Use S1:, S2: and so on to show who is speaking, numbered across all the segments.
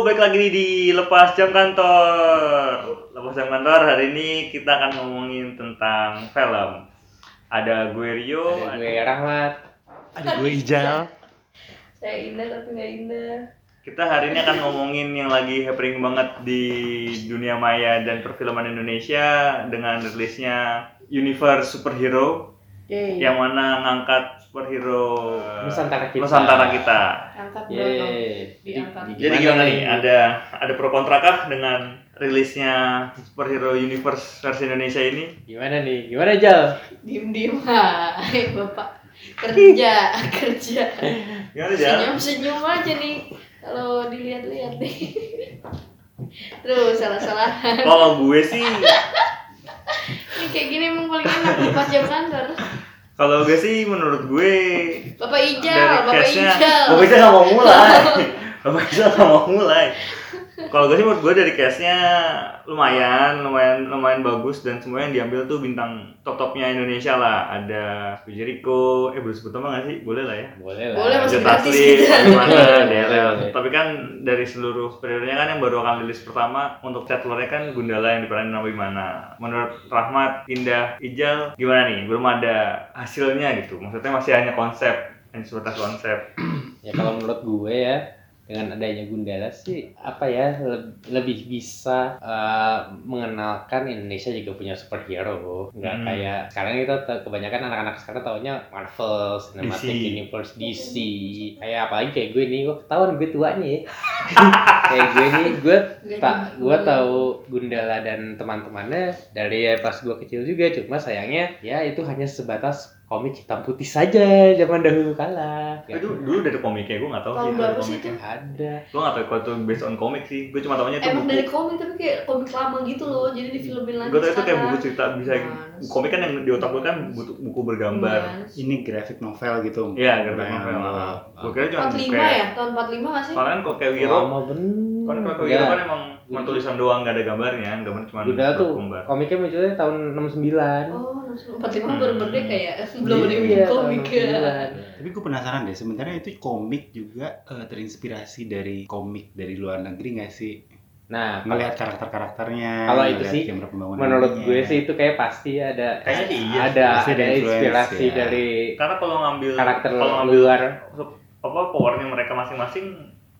S1: balik lagi di Lepas Jam Kantor. Lepas Jam Kantor hari ini kita akan ngomongin tentang film. Ada gue Rio,
S2: Ada gue Rahmat.
S3: Ada gue Ijal.
S4: Saya indah tapi nggak indah.
S1: Kita hari ini akan ngomongin yang lagi happening banget di dunia maya dan perfilman Indonesia dengan rilisnya Universe Superhero
S4: Yeay.
S1: yang mana ngangkat superhero eh,
S2: Nusantara kita.
S1: Nusantara kita.
S4: Angkat dong.
S2: Yeay.
S4: Diangkat.
S2: Di- di-
S1: Jadi gimana nih? Ada ada pro kontra kah dengan rilisnya superhero universe versi Indonesia ini?
S2: Gimana nih? Gimana Jal?
S4: Diem diem hai bapak kerja kerja.
S1: Gimana
S4: Senyum
S1: Jal?
S4: senyum aja nih kalau dilihat-lihat nih. Terus salah-salah.
S1: Kalau gue sih,
S4: Ini kayak gini emang paling enak lepas jam kantor.
S1: kalau gue sih menurut gue
S4: Bapak
S1: dari
S4: Ijal, Bapak
S1: case-nya,
S4: Ijal.
S1: Bapak Ijal nggak mau mulai. Bapak Ijal nggak mau mulai. Kalau gue sih menurut gue dari case-nya lumayan, lumayan, lumayan bagus dan semua yang diambil tuh bintang top-topnya Indonesia lah. Ada Fujiriko, eh boleh sebut nama nggak sih? Boleh lah ya.
S2: Boleh lah.
S4: Boleh, Mas.
S1: Lanjut
S4: Masih gratis gitu. Iya.
S1: asli, Iya,
S4: kita.
S1: gimana, Daryl.
S2: Boleh.
S1: Tapi kan dari seluruh periodenya kan yang baru akan rilis pertama untuk catlornya kan Gundala yang diperanin sama Bimana. Menurut Rahmat, Indah, Ijal, gimana nih? Belum ada hasilnya gitu. Maksudnya masih hanya konsep, hanya sebatas konsep.
S2: Ya kalau menurut gue ya dengan adanya Gundala sih apa ya le- lebih bisa eh, mengenalkan Indonesia juga punya superhero nggak
S1: Hmm.
S2: kayak sekarang kita te- kebanyakan anak-anak sekarang taunya Marvel Cinematic
S1: DC.
S2: Universe DC kayak apalagi kayak gue nih gue ketahuan gue tuanya ya kayak gue nih gue tak gue tahu Gundala dan teman-temannya dari ya pas gue kecil juga cuma sayangnya ya itu hanya sebatas komik hitam putih saja zaman dahulu kala Ya,
S1: Itu dulu dari komiknya, gue nggak tahu
S4: Ya.
S1: sih
S4: Tahun
S1: itu dari
S4: berapa sih
S1: komiknya.
S2: ada
S1: Gue nggak tahu kalau itu based on komik sih. Gue cuma tahunya itu
S4: Emang
S1: buku.
S4: dari komik tapi kayak komik lama gitu loh, jadi difilmin lagi.
S1: Gue tahu itu kayak buku
S4: sekarang.
S1: cerita bisa
S4: Gimana sih?
S1: komik kan yang di otak gue kan buku, buku bergambar.
S4: Gimana sih?
S3: Ini grafik novel gitu.
S1: Iya, gitu.
S3: Nah,
S1: Gue kira cuma
S4: 45
S1: kan kayak
S4: ya? Tahun 45 gak sih?
S1: Soalnya kan kok kayak Wiro
S2: lama bener
S1: Kan kalau
S2: Ya,
S1: Kawiro kan emang cuma tulisan doang, gak ada gambarnya, gambar
S3: kan
S1: cuma
S2: Gundala tuh
S1: bergambar.
S2: komiknya munculnya tahun 69
S4: Oh, 45 baru
S1: Hmm.
S4: merdeka ya? Belum ada
S2: Iya,
S4: yang
S2: tahun
S4: komik ya.
S2: 69.
S3: Tapi gue penasaran deh, sebenarnya itu komik juga eh, terinspirasi dari komik dari luar negeri nggak sih?
S2: nah kalau-
S3: Melihat karakter-karakternya,
S2: Kalau itu
S3: melihat
S2: sih,
S3: genre pembangunannya.
S2: menurut gue sih itu kayak pasti ada
S1: Kayaknya iya.
S2: ada
S3: Iya. Pasti ada
S2: ada inspirasi
S3: influence, ya.
S2: dari
S1: Karena kalau ngambil
S2: karakter
S1: kalau ngambil
S2: luar
S1: apa powernya mereka masing-masing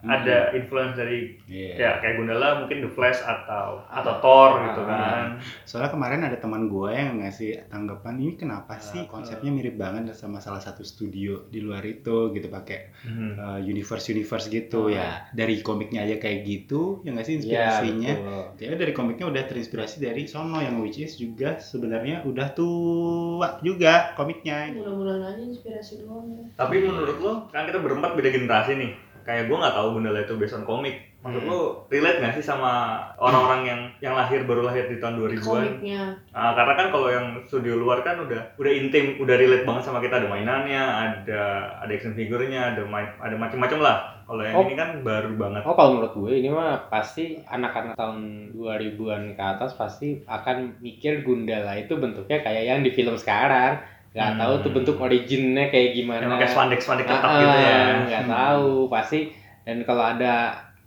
S3: Hmm.
S1: ada influence dari
S3: Iya.
S1: ya kayak Gundala mungkin The Flash atau atau
S2: Ah.
S1: Thor gitu
S2: Ah.
S1: kan.
S3: Soalnya kemarin ada teman gue yang ngasih tanggapan ini
S2: Ah,
S3: kenapa sih konsepnya mirip banget sama salah satu studio di luar itu gitu pakai
S1: Hmm.
S3: eh, universe-universe gitu ya. Dari komiknya aja kayak gitu, ya nggak sih inspirasinya?
S2: Hmm. Iya, betul.
S3: Dia dari komiknya udah terinspirasi dari Sono yang which is juga sebenarnya udah tua juga komiknya.
S4: Mudah-mudahan aja inspirasi doang ya.
S1: Tapi menurut lo kan kita berempat beda generasi nih. Kayak gue nggak tahu Gundala itu based on komik. Menurut
S2: Hmm.
S1: lo relate nggak sih sama orang-orang yang yang lahir baru lahir di tahun 2000-an?
S4: Komiknya.
S1: Ah, karena kan kalau yang studio luar kan udah udah intim, udah relate banget sama kita ada mainannya, ada ada action figurnya, ada main, ada macam-macam lah. Kalau yang
S2: Oh.
S1: ini kan baru banget.
S2: Oh kalau menurut gue ini mah pasti anak-anak tahun 2000-an ke atas pasti akan mikir Gundala itu bentuknya kayak yang di film sekarang. Gak
S1: Hmm.
S2: tahu tuh bentuk originnya kayak gimana.
S1: Emang kayak spandek-spandek
S2: Ah,
S1: ketat gitu ya.
S2: Gak
S3: Hmm.
S2: tahu pasti dan kalau ada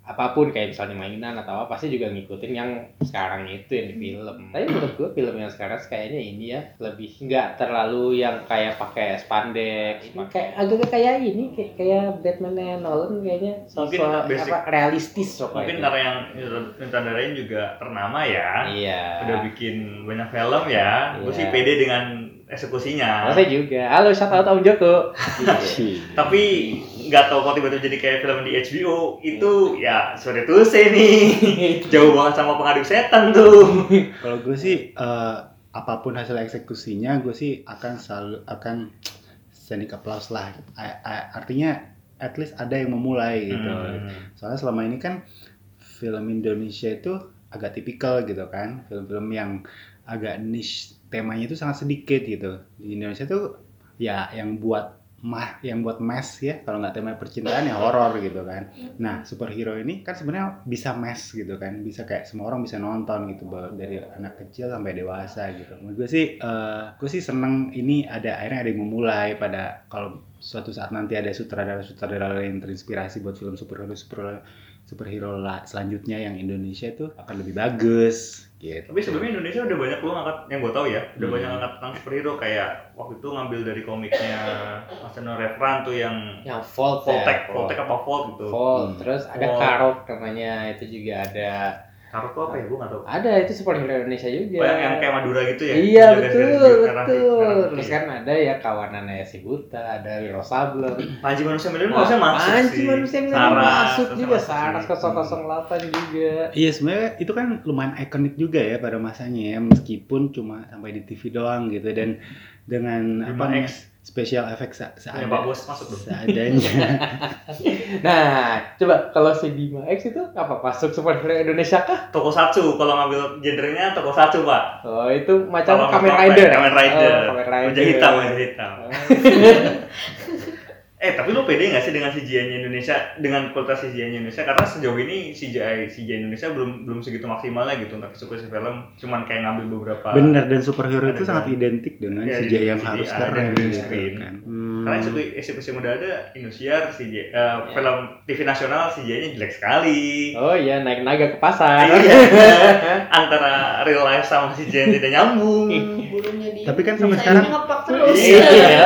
S2: apapun kayak misalnya mainan atau apa pasti juga ngikutin yang sekarang itu yang di film. Tapi menurut gue film yang sekarang kayaknya ini ya lebih nggak terlalu yang kayak pakai spandek,
S1: Iya.
S2: pakai agak kayak ini kayak, kayak Batman nya Nolan kayaknya
S1: Mungkin
S2: sosok
S1: basic.
S2: apa realistis pokoknya.
S1: Mungkin karena yang sutradarain juga ternama ya.
S2: Iya.
S1: Udah bikin banyak film ya. Gue sih
S2: Iya.
S1: pede dengan eksekusinya.
S2: Saya juga. Halo, shout out Om Joko. Gitu.
S1: Tapi nggak tahu kok tiba-tiba jadi kayak film di HBO itu
S2: Iya.
S1: ya sorry tuh saya nih jauh banget sama pengadu setan tuh.
S3: Kalau gue sih eh, apapun hasil eksekusinya gue sih akan selalu akan standing applause lah. A- a- artinya at least ada yang memulai gitu.
S1: Hmm.
S3: Soalnya selama ini kan film Indonesia itu agak tipikal gitu kan, film-film yang agak niche temanya itu sangat sedikit gitu. Di Indonesia tuh ya yang buat mah yang buat mass ya kalau nggak tema percintaan ya horor gitu kan. Nah superhero ini kan sebenarnya bisa mass gitu kan, bisa kayak semua orang bisa nonton gitu bahwa dari anak kecil sampai dewasa gitu. Menurut gue sih, eh, gue sih seneng ini ada akhirnya ada yang memulai pada kalau suatu saat nanti ada sutradara-sutradara yang terinspirasi buat film superhero superhero superhero la- selanjutnya yang Indonesia itu akan lebih bagus gitu.
S1: Tapi
S2: Iya.
S1: sebelumnya Indonesia udah banyak loh ngangkat yang gue tahu ya, udah
S3: Hmm.
S1: banyak ngangkat tentang superhero kayak waktu itu ngambil dari komiknya Marcelo Refran tuh yang
S2: yang Volt ya,
S1: Voltec, Voltec apa Volt gitu.
S2: Volt.
S3: Hmm.
S2: terus ada
S1: Volt.
S2: Karok namanya itu juga ada
S1: Naruto tuh apa ya gue nggak tahu.
S2: ada itu superhero Indonesia juga
S1: Banyak yang kayak Madura gitu ya.
S2: iya
S1: yang
S2: betul
S1: garis-garis merah-
S2: betul
S1: merah
S2: terus
S1: putih.
S2: kan ada ya kawanannya si Buta ada Wiro Sableng
S1: Panji manusia milenium
S2: Wah,
S1: harusnya masuk
S2: Panji
S1: sih.
S2: manusia bilang
S1: Saras,
S2: masuk
S1: terus
S2: juga
S1: masuk
S2: Saras
S1: sih. Hmm.
S2: 008 juga
S3: Iya sebenarnya itu kan lumayan ikonik juga ya pada masanya ya meskipun cuma sampai di TV doang gitu dan dengan apa
S1: 5X.
S3: namanya special effect se
S1: Ya Pak
S3: seada-
S1: Bos masuk dong.
S3: seadanya.
S2: nah coba kalau si Bima X itu apa masuk superhero Indonesia kah
S1: Toko satu kalau ngambil gendernya toko satu pak.
S2: oh itu macam
S1: Kalau
S2: Kamen
S1: nggak
S2: Rider
S1: Kamen Rider.
S2: oh, Kamen Rider
S1: Wajah hitam, ya. wajah hitam.
S2: Oh.
S1: Eh tapi lu pede nggak sih dengan CGI-nya Indonesia dengan kualitas CGI-nya Indonesia karena sejauh ini CGI CGI Indonesia belum belum segitu maksimalnya gitu untuk eksekusi film cuman kayak ngambil beberapa
S3: Bener dan superhero
S1: Ada
S3: itu sangat
S1: kan?
S3: identik dengan
S1: Iya,
S3: CGI yang
S1: CGI
S3: harus
S1: ada
S3: keren
S1: di
S3: gitu
S1: screen.
S3: kan.
S1: karena
S3: Hmm.
S1: eksekusi, eksekusi muda ada Indosiar CGI eh, film TV nasional CGI-nya jelek sekali
S2: Oh iya, naik naga ke pasar.
S1: Iya. antara real life sama CGI yang tidak nyambung
S4: Iya. burungnya di
S3: Tapi kan sampai
S4: sayapnya
S3: sekarang-
S4: ngepak terus
S2: Iya.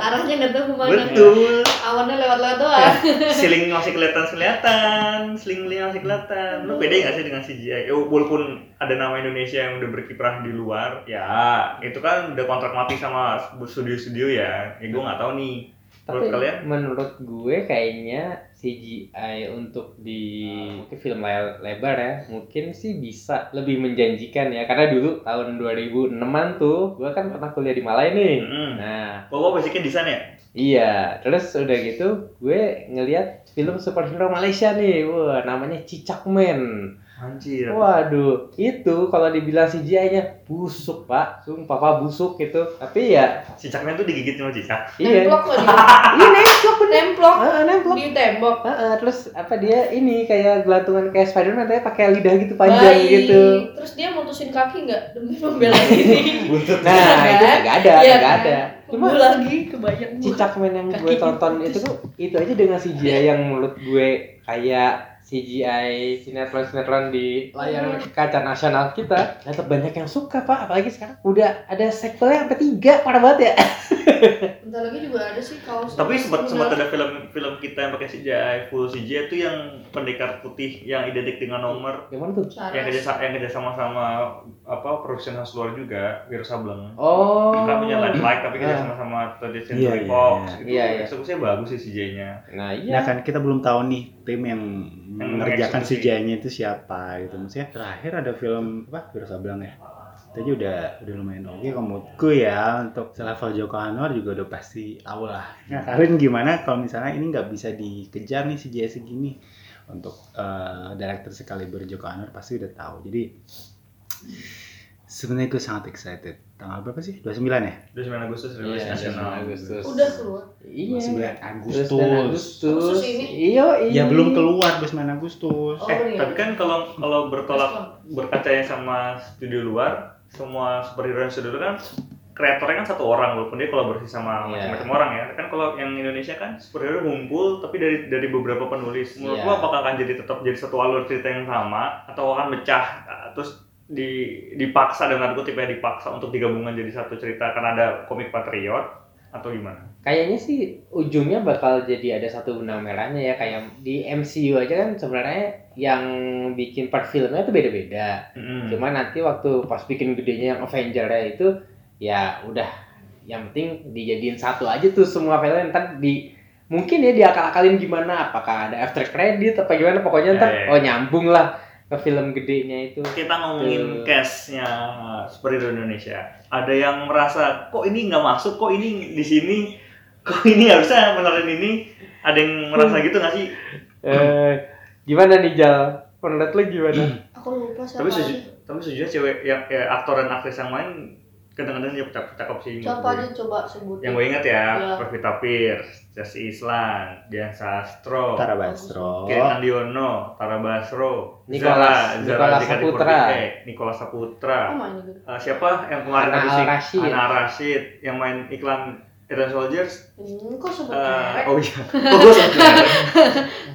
S4: arahnya nggak tahu kemana
S1: betul
S4: awannya lewat-lewat doang
S1: Siling masih kelihatan kelihatan, siling masih kelihatan. Lu pede nggak sih dengan CGI? Ya, walaupun ada nama Indonesia yang udah berkiprah di luar, ya itu kan udah kontrak mati sama studio-studio ya. Ya gue nggak tahu nih. Menurut
S2: Iya. Tapi
S1: kalian?
S2: menurut gue kayaknya CGI untuk di mungkin film layar lebar ya, mungkin sih bisa lebih menjanjikan ya. Karena dulu tahun 2006-an tuh, gue kan pernah kuliah di Malai nih.
S1: Mm.
S2: Nah,
S1: Kok gue basicnya desain ya?
S2: iya. Terus udah gitu, gue ngeliat film superhero Malaysia nih. Wah, namanya Cicak Man.
S1: Anjir.
S2: Waduh, itu kalau dibilang CGI-nya busuk, Pak. Sumpah, Pak, busuk gitu. Tapi ya,
S1: Si Cakmen tuh digigit sama Nah, cicak.
S2: iya.
S4: nemplok lagi
S2: Iya, nemplok bener.
S4: nemplok
S2: Heeh, nemplok.
S4: di tembok
S2: Ah, ah, terus apa dia ini kayak gelantungan kayak Spiderman tapi pakai lidah gitu panjang
S4: Baik.
S2: gitu.
S4: terus dia mutusin kaki nggak demi membela diri
S1: Buntut.
S2: Nah,
S4: Iya
S2: itu
S4: kan?
S2: nggak ada,
S4: Iya
S2: nggak
S4: kan?
S2: ada. Cuma
S4: Gua lagi kebayang gua.
S2: cicak men yang gue
S4: Kaki gitu, Iya.
S2: tonton
S4: diputus.
S2: itu tuh itu aja dengan CGI yang menurut gue kayak CGI sinetron-sinetron di layar kaca nasional kita tetap banyak yang suka pak apalagi sekarang udah ada sequelnya sampai tiga parah banget ya
S4: bentar lagi juga ada sih kaos
S1: Tapi sempat sempat
S4: Udah.
S1: ada film film kita yang pakai CGI full CGI tuh yang pendekar putih yang identik dengan nomor
S2: yang mana tuh
S1: yang
S4: Saras.
S1: kerja yang kerja sama sama apa production house luar juga Wiro Sableng.
S2: Oh.
S1: Kita punya Limelight tapi kita
S2: Nah.
S1: sama-sama 30th
S3: Ah. Iya,
S1: Century
S3: iya,
S1: Fox
S3: iya.
S1: itu
S2: Iya, iya.
S1: eksekusinya bagus sih CJ-nya
S2: Nah,
S3: Nah
S2: iya.
S3: kan kita belum tahu nih tim yang mengerjakan
S1: mengeksekusi.
S3: CGI-nya itu siapa gitu maksudnya. Terakhir ada film apa? Wiro Sableng ya. Itu aja udah udah lumayan oke kalau menurutku ya untuk selevel Joko Anwar juga udah pasti tahu lah. Nah kalian gimana kalau misalnya ini nggak bisa dikejar nih CGI segini untuk eh, director sekaliber Joko Anwar pasti udah tahu. Jadi sebenarnya gue sangat excited. Tanggal berapa sih? 29 ya?
S1: 29 Agustus rilis
S2: Iya,
S1: nasional
S2: 29 Agustus.
S4: udah keluar
S2: Iya.
S3: 29
S2: Terus
S3: Agustus.
S2: dan Agustus.
S4: Agustus ini?
S2: Iya, iya.
S3: Ya belum keluar 29 Agustus.
S4: Oh,
S1: eh
S4: iya.
S1: tapi kan kalau kalau bertolak
S4: Respon.
S1: berkacanya sama studio luar semua superhero yang studio luar kan kreatornya kan satu orang walaupun dia kolaborasi sama
S2: Iya.
S1: macam-macam orang ya kan kalau yang Indonesia kan superhero ngumpul tapi dari dari beberapa penulis menurut
S2: Iya.
S1: gua apakah akan jadi tetap jadi satu alur cerita yang sama atau akan pecah uh, terus di dipaksa dengan kutip ya dipaksa untuk digabungkan jadi satu cerita karena ada komik patriot atau gimana
S2: Kayaknya sih ujungnya bakal jadi ada satu benang merahnya ya kayak di MCU aja kan sebenarnya yang bikin per filmnya itu beda-beda.
S1: Mm.
S2: Cuma nanti waktu pas bikin gedenya yang Avenger itu ya udah yang penting dijadiin satu aja tuh semua film ntar di mungkin ya diakal-akalin gimana apakah ada after credit apa gimana pokoknya ntar
S1: Ya, ya.
S2: oh nyambung lah ke film gedenya itu
S1: kita ngomongin
S2: Betul.
S1: case-nya superhero Indonesia. Ada yang merasa kok ini nggak masuk, kok ini di sini, kok ini harusnya menelan ini. Ada yang merasa gitu nggak sih?
S2: eh gimana nih Jal? Menurut lu gimana?
S4: aku lupa siapa
S1: Tapi
S4: aja
S1: seju, tapi sejujurnya cewek yang ya, aktor dan aktris yang main kadang-kadang dia cakep cakep sih. menurut
S4: siapa
S1: gue.
S4: aja coba sebutin
S1: Iya, Yang gue ingat ya,
S4: Iya.
S1: Pevita Pierce, Jesse Islan, Dian Sastro,
S3: Tara Basro.
S1: Kitan Diono, Tara Basro,
S2: Nicholas- Nicholas
S1: Dika
S2: Saputra.
S1: Dikurniawan, Nicholas Saputra.
S4: Oh, my God.
S1: Eh, siapa yang kemarin
S2: Ana
S1: habis
S2: Al Rashid.
S1: Ana Al Rashid yang main iklan Iron Soldiers
S4: Hmm, kok sebut
S1: eh,
S4: merek?
S1: oh iya oh, gue sebut merek.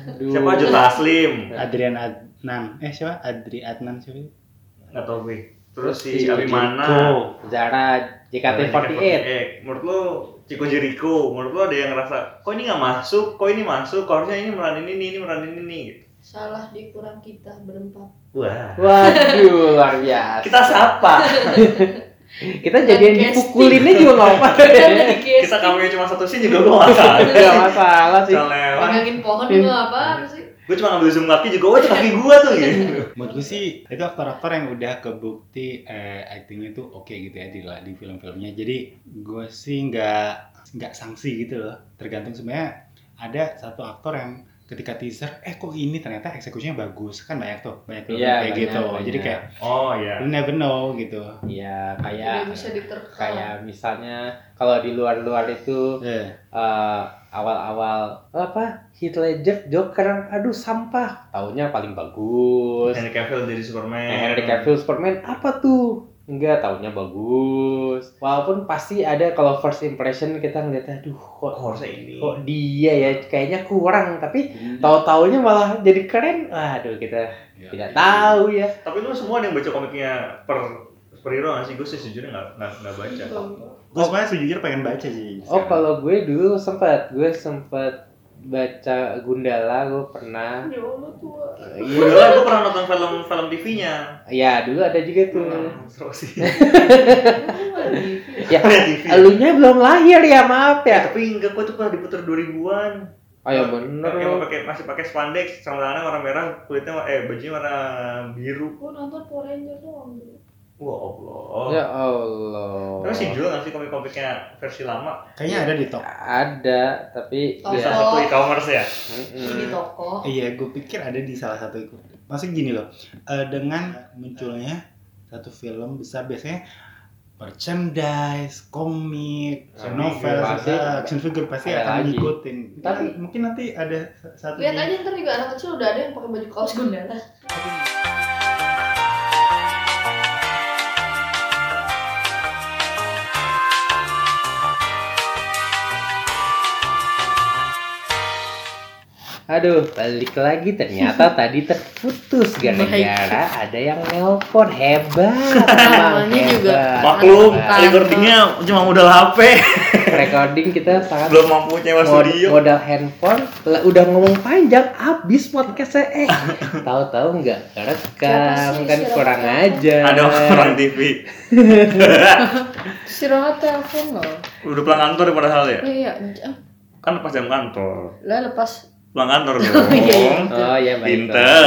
S2: Aduh.
S1: siapa Juta Aslim
S3: Adrian Adnan eh siapa Adri Adnan siapa
S1: nggak tau gue terus si Abimana
S2: Jericho, Zara JKT48.
S1: eh, menurut lo Ciko Jericho menurut lo ada yang ngerasa kok ini nggak masuk kok ini masuk kok harusnya ini meranin ini ini meranin ini gitu.
S4: Salah dikurang kita berempat.
S1: wah
S2: Waduh, luar biasa.
S1: kita siapa
S2: Kita jadian
S4: Podcasting.
S2: dipukulinnya juga nggak apa-apa.
S1: kita kamu cuma satu scene juga gue masalah
S2: Nggak masalah sih.
S1: Bisa lewat.
S4: Pegangin pohon juga apa
S2: Iya.
S4: sih?
S1: gue cuma ngambil zoom kaki juga, wah itu kaki gue tuh gitu.
S3: Menurut gue sih itu aktor-aktor yang udah kebukti eh, actingnya tuh oke gitu ya di, di film-filmnya. Jadi gue sih nggak nggak sanksi gitu loh. Tergantung sebenarnya ada satu aktor yang ketika teaser, eh kok ini ternyata eksekusinya bagus kan banyak tuh banyak film
S2: Iya,
S3: kayak
S2: banyak,
S3: gitu. Jadi
S2: banyak.
S3: kayak
S1: Oh iya.
S3: you never know gitu.
S2: Iya,
S4: Tidak
S2: kayak
S4: bisa diterka.
S2: kayak misalnya kalau di luar-luar itu
S3: Eh,
S2: eh, awal-awal apa Heath Ledger Joker aduh sampah taunya paling bagus
S1: Henry Cavill jadi Superman.
S2: Nah, Henry Cavill Superman apa tuh? Enggak, tahunnya bagus. Walaupun pasti ada kalau first impression kita ngeliatnya, aduh kok,
S1: Oh, harusnya ini.
S2: kok dia ya kayaknya kurang, tapi tahu-taunya malah jadi keren. Waduh, kita
S3: ya.
S2: tidak tahu ya.
S1: Tapi lu semua ada yang baca komiknya per superhero nggak sih? Gue sih sejujurnya nggak nggak nggak
S4: Iya.
S1: baca.
S4: Gitu.
S3: Gue sebenarnya sejujurnya pengen baca sih.
S2: Oh,
S3: sekarang.
S2: kalau gue dulu sempat, gue sempat baca Gundala, gue pernah.
S4: Ya Allah tua.
S1: Gue doang, gue Iya, pernah nonton film film TV-nya.
S2: Ya, dulu ada juga tuh.
S1: Seru sih.
S2: Iya. Ya,
S1: Ada TV.
S2: elunya belum lahir ya, maaf
S1: Ya,
S2: ya.
S1: tapi enggak kok itu pernah diputer 2000-an.
S2: Oh ya bener.
S1: Yang pakai masih pakai spandex, celananya warna merah, kulitnya wa- eh bajunya warna biru.
S4: Gue nonton Power Ranger doang.
S1: Wah, Allah.
S2: Ya Allah.
S1: Terus sih jual nggak sih komik-komiknya versi lama?
S3: kayaknya ada di top.
S2: ada tapi
S4: Oh,
S1: Bisa
S2: ya
S1: satu e-commerce ya?
S4: Ini di
S2: mm-mm.
S4: toko.
S3: Iya, gue pikir ada di salah satu itu. Maksudnya gini loh, eh, dengan munculnya satu film besar biasanya merchandise, komik,
S2: Action
S3: novel,
S2: figure
S3: pasti,
S2: pasti-
S3: action figure pasti
S2: ada
S3: akan
S2: lagi.
S3: ngikutin. Tapi
S2: Tapi-
S3: mungkin nanti ada sa- satu
S4: Lihat
S3: di-
S4: aja ntar juga anak kecil udah ada yang pakai baju kaos gundala.
S2: aduh balik lagi ternyata tadi terputus gara-gara ada yang nelpon hebat emang
S4: Emangnya juga.
S2: hebat.
S1: Maklum,
S2: Hebat.
S1: recordingnya cuma modal HP.
S2: recording kita sangat
S1: Belum mampu nyewa
S2: Iya. mod-
S1: studio.
S2: modal handphone Lah, udah ngomong panjang habis podcastnya eh tahu-tahu nggak
S4: Siapa
S2: kerekam
S4: sih
S2: kan
S4: si
S2: kurang
S4: Rafa?
S2: aja
S1: Ada orang TV.
S4: Istirahat telepon loh.
S1: Udah pulang kantor ya padahal ya?
S4: Iya,
S1: Kan pas jam kantor.
S4: lah lepas.
S1: Pulang kantor dong.
S4: Iya, iya.
S2: oh ya baik
S1: Pinter.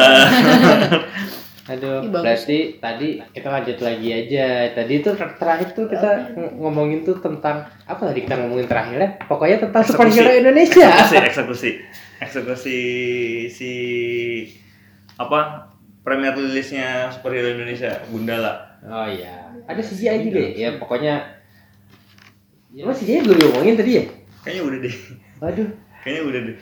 S2: Aduh,
S4: Ih, bagus.
S2: berarti tadi kita lanjut lagi aja. Tadi itu ter- terakhir tuh kita ng- ngomongin tuh tentang apa tadi kita ngomongin terakhir ya? Pokoknya tentang
S1: Eksekusi.
S2: superhero Indonesia.
S1: Eksekusi, eksekusi. Eksekusi si apa? Premier rilisnya superhero Indonesia, Gundala.
S2: Oh iya. Ada CGI juga ya? Ya pokoknya Emang CGI belum diomongin tadi ya?
S1: Kayaknya udah deh.
S2: Waduh,
S1: Kayaknya udah deh.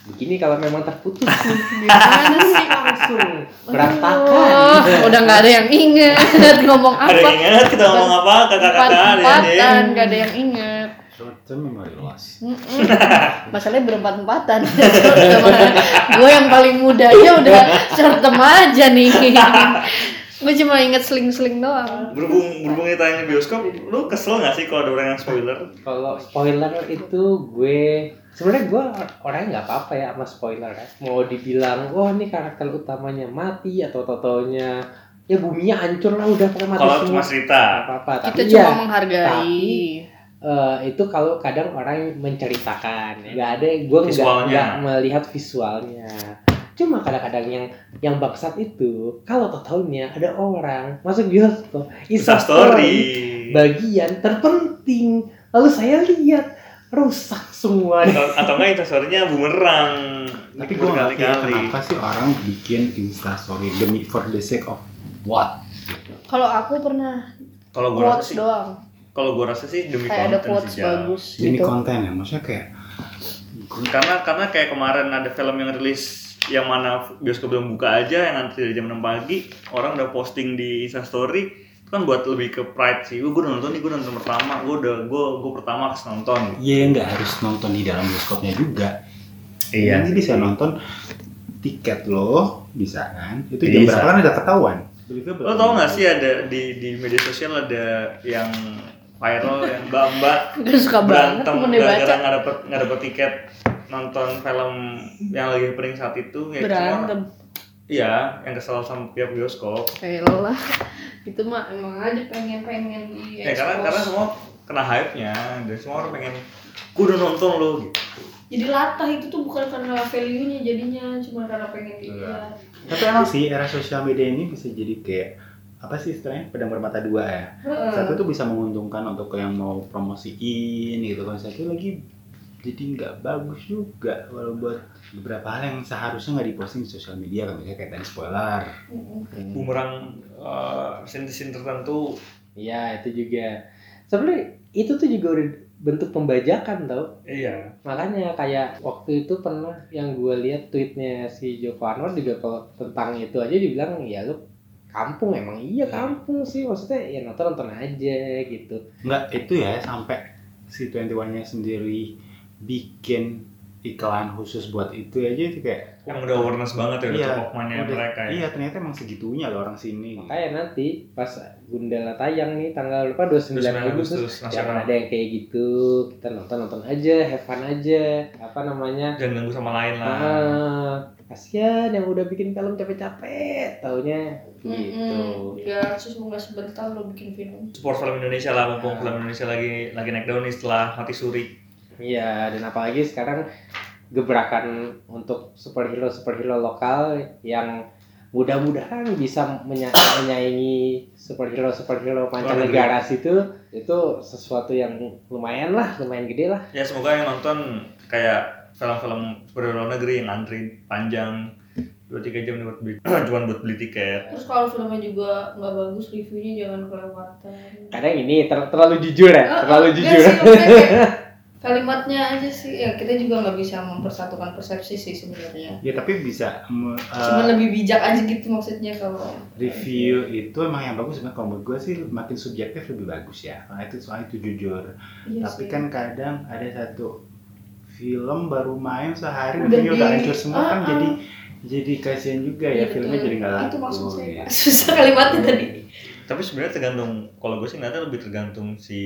S2: begini kalau memang terputus nih,
S4: Gimana sih?
S2: langsung
S4: Aduh,
S2: berantakan.
S4: Oh, udah nggak ada yang ingat ngomong
S1: Ada yang
S4: apa.
S1: ingat kita ngomong apa? Kata-kata ada yang ada yang-
S4: Empat-empatan, nggak ada yang inget.
S3: short term memory loss.
S4: Mm-mm. Masalahnya berempat-empatan. gue yang paling muda aja udah short term aja nih. gue cuma inget seling-seling doang.
S1: Berhubung berhubung kita tayang di bioskop, lu kesel gak sih kalau ada orang yang spoiler?
S2: Kalau spoiler itu gue sebenarnya gue orangnya nggak apa-apa ya sama spoiler ya. Mau dibilang wah ini karakter utamanya mati atau totonya ya buminya hancur lah udah pokoknya mati
S1: Kalau
S2: semua.
S1: cuma cerita,
S2: Apa apa
S4: Kita
S2: tapi
S4: cuma
S2: ya
S4: menghargai.
S2: eh, itu kalau kadang orang menceritakan ya. nggak ada gue nggak
S1: Visualnya.
S2: nggak melihat visualnya cuma kadang-kadang yang yang bangsat itu kalau totalnya ada orang masuk bioskop
S4: Iya,
S1: Insta
S2: Insta
S1: story.
S2: bagian terpenting. Lalu saya lihat rusak semua.
S1: atau atau enggak instastorynya bumerang
S3: Tapi gue
S1: Dikubur
S3: ngerti ya,
S1: kali-kali.
S3: kenapa sih orang bikin instastory demi for the sake of what?
S4: Kalau aku pernah
S1: kalau gue rasa
S4: quotes
S1: sih
S4: doang,
S1: kalau gue rasa sih demi
S4: kayak ada
S1: konten
S4: quotes
S1: sih Jal.
S4: bagus
S3: Demi
S4: gitu.
S3: konten ya, maksudnya kayak
S1: karena karena kayak kemarin ada film yang rilis yang mana bioskop belum buka aja yang nanti dari jam 6 pagi orang udah posting di instastory kan buat lebih ke pride sih gue nonton nih gue nonton pertama gue udah gue gue pertama kes nonton gitu.
S3: Iya nggak harus nonton di dalam bioskopnya juga.
S1: Iya
S3: Ini
S1: sih.
S3: bisa nonton tiket loh, bisa kan? Itu jam
S1: Bisa.
S3: berapa kan udah ketahuan.
S1: lo tau gak sih ada di di media sosial ada yang viral yang mbak
S4: Gue suka banget
S1: berantem
S4: temen dia baca
S1: gara-gara nggak dapet nggak dapet tiket nonton film yang lagi pering saat itu ya semua-
S4: berantem.
S1: iya yang kesel sama pihak bioskop
S4: Elah. Itu mah emang aja pengen-pengen di
S1: ya karena karena
S4: expose.
S1: semua kena hype nya dan semua orang pengen gue udah nonton lo gitu
S5: Jadi latah itu tuh bukan karena value-nya jadinya, cuma karena pengen dilihat.
S3: Tapi emang sih era sosial media ini bisa jadi kayak apa sih istilahnya pedang bermata dua ya.
S1: Hmm.
S5: Heeh.
S3: Satu tuh bisa menguntungkan untuk yang mau promosiin gitu kan. Satu lagi jadi nggak bagus juga kalau buat beberapa hal yang seharusnya nggak diposting di sosial media kan misalnya kayak tadi spoiler.
S5: Eh, Mm-mm.
S2: Hmm.
S1: bumerang eh, scene-scene tertentu
S2: Iya, itu juga. Sebenarnya itu tuh juga udah bentuk pembajakan tau.
S1: iya
S2: Makanya kayak waktu itu pernah yang gue lihat tweetnya si Joko Anwar juga kalau tentang itu aja dibilang ya lu kampung emang iya kampung sih maksudnya ya nonton nonton aja gitu.
S3: Nggak itu ya sampai si 21 nya sendiri bikin iklan khusus buat itu aja itu kayak
S1: yang udah awareness banget ya udah
S3: Iya,
S1: cokokmannya
S3: Udah-
S1: mereka ya
S3: Iya ternyata emang segitunya loh orang sini.
S2: Makanya nanti pas Gundala tayang nih tanggal lupa
S1: 29
S2: 29 Agustus
S1: Agustus
S2: jangan
S1: nasional
S2: ada yang kayak gitu kita nonton nonton aja have fun aja apa namanya
S1: jangan ganggu sama lain lah
S2: ah kasihan yang udah bikin film capek-capek taunya gitu
S5: Mm-mm. Ya, susu nggak sebentar lo bikin film.
S1: support film Indonesia lah mumpung
S2: Nah.
S1: film Indonesia lagi lagi naik daun nih setelah mati suri
S2: Iya, dan apalagi sekarang gebrakan untuk superhero superhero lokal yang mudah-mudahan bisa menya- menyaingi superhero superhero mancanegara situ itu sesuatu yang lumayan lah, lumayan gede lah.
S1: ya semoga yang nonton kayak film-film superhero luar negeri yang antri panjang dua tiga jam buat beli cuman buat beli tiket
S5: Terus kalau filmnya juga nggak bagus, reviewnya jangan kelewatan.
S2: Kadang ini ter- terlalu jujur ya,
S5: Ah,
S2: Eh, terlalu
S5: enggak
S2: jujur.
S5: sih, maksudnya kayak kalimatnya aja sih ya kita juga nggak bisa mempersatukan persepsi sih sebenarnya
S3: Ya tapi bisa me-
S5: cuma
S3: eh,
S5: lebih bijak aja gitu maksudnya kalau
S3: review itu emang yang bagus sebenarnya kalau menurut gue sih makin subjektif lebih bagus ya. Karena itu soalnya itu jujur.
S5: Iya
S3: tapi
S5: sih.
S3: kan kadang ada satu film baru main sehari
S5: Udah
S3: reviewnya udah
S5: di-
S3: hancur semua kan
S5: Ah, ah.
S3: jadi jadi kasihan juga ya
S5: Iya,
S3: filmnya
S5: betul.
S3: jadi nggak laku.
S5: itu maksud saya
S3: ya.
S5: Pak. susah kalimatnya tadi
S1: tapi sebenarnya tergantung kalau gue sih ngeliatnya lebih tergantung si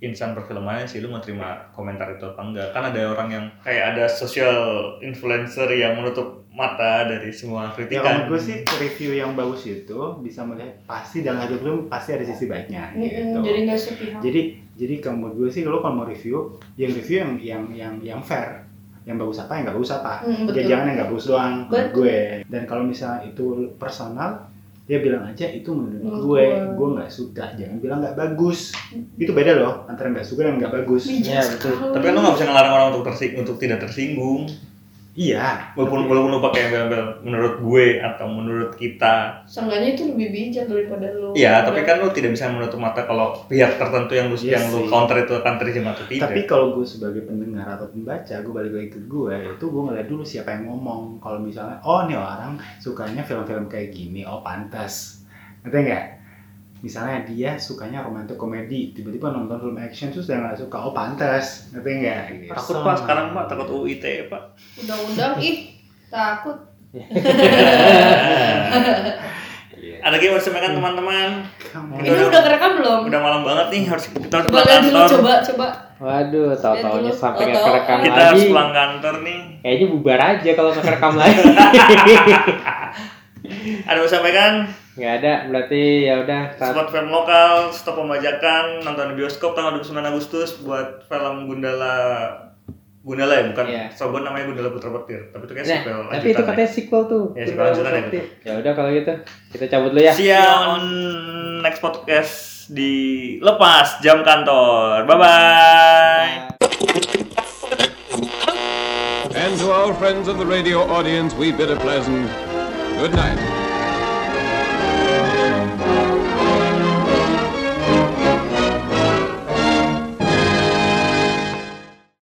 S1: insan perfilmannya sih lu mau terima komentar itu apa enggak kan ada orang yang kayak ada social influencer yang menutup mata dari semua
S3: Ya kalau
S1: kritikan
S3: menurut gue sih review yang bagus itu bisa melihat pasti dalam satu film pasti ada sisi baiknya gitu.
S5: Mm-mm, jadi nggak sepihak
S3: jadi jadi kalau menurut gue sih lo kalau mau review yang review yang yang yang yang fair yang bagus apa yang nggak bagus apa
S5: Mm,
S3: jadi
S5: betul.
S3: jangan yang nggak bagus doang menurut
S5: Betul.
S3: gue dan kalau misalnya itu personal dia bilang aja itu menurut
S5: Menurut
S3: gue
S5: gue.
S3: gue nggak suka jangan bilang nggak bagus itu beda loh antara nggak suka dan nggak bagus
S5: bijak
S2: Iya, betul.
S5: sekali
S1: tapi kan lu nggak bisa ngelarang orang untuk tersing untuk tidak tersinggung
S3: iya
S1: walaupun walaupun lu pakai embel-embel menurut gue atau menurut kita
S5: seenggaknya itu lebih bijak daripada lu
S1: Iya, tapi kan lu tidak bisa menutup mata kalau pihak tertentu yang lu
S3: Iya
S1: yang lu
S3: sih.
S1: counter itu akan terima atau tidak.
S3: tapi kalau gue sebagai pendengar atau pembaca gue balik lagi ke gue itu gue ngeliat dulu siapa yang ngomong kalau misalnya oh nih orang sukanya film-film kayak gini oh pantas ngerti nggak misalnya dia sukanya romantis komedi tiba-tiba nonton film action terus dia nggak suka oh pantas ngerti nggak Gitu.
S1: takut pak sekarang pak takut UIT pak.
S5: undang-undang ih takut
S3: Iya.
S1: Ada game harus dimakan teman-teman.
S3: Kamu-
S5: ini udah kerekam belum
S1: Udah malam banget nih harus kita harus pulang
S5: boleh dulu
S1: kantor.
S5: coba coba
S2: Waduh, tahu-taunya
S5: dulu, Oh,
S2: sampai nggak
S5: tahu-tahu.
S2: kerekam
S1: Kita harus
S2: lagi.
S1: pulang kantor nih.
S2: Kayaknya bubar aja kalau nggak kerekam lagi.
S1: Ada yang mau sampaikan
S2: Nggak ada, berarti ya udah. tat-
S1: support film lokal, stop pembajakan, nonton di bioskop tanggal 29 Agustus buat film Gundala Gundala ya bukan
S2: Iya.
S1: Sobon namanya Gundala Putra Petir tapi itu kayak
S2: Nah,
S1: sequel
S2: tapi itu
S1: lanjutannya.
S2: katanya sequel tuh.
S1: Ya, sequel lanjutannya itu.
S2: Ya udah kalau gitu, kita cabut dulu ya.
S1: See ya on next podcast di Lepas Jam Kantor. Bye-bye.
S6: And to our friends of the radio audience, we bid a pleasant good night.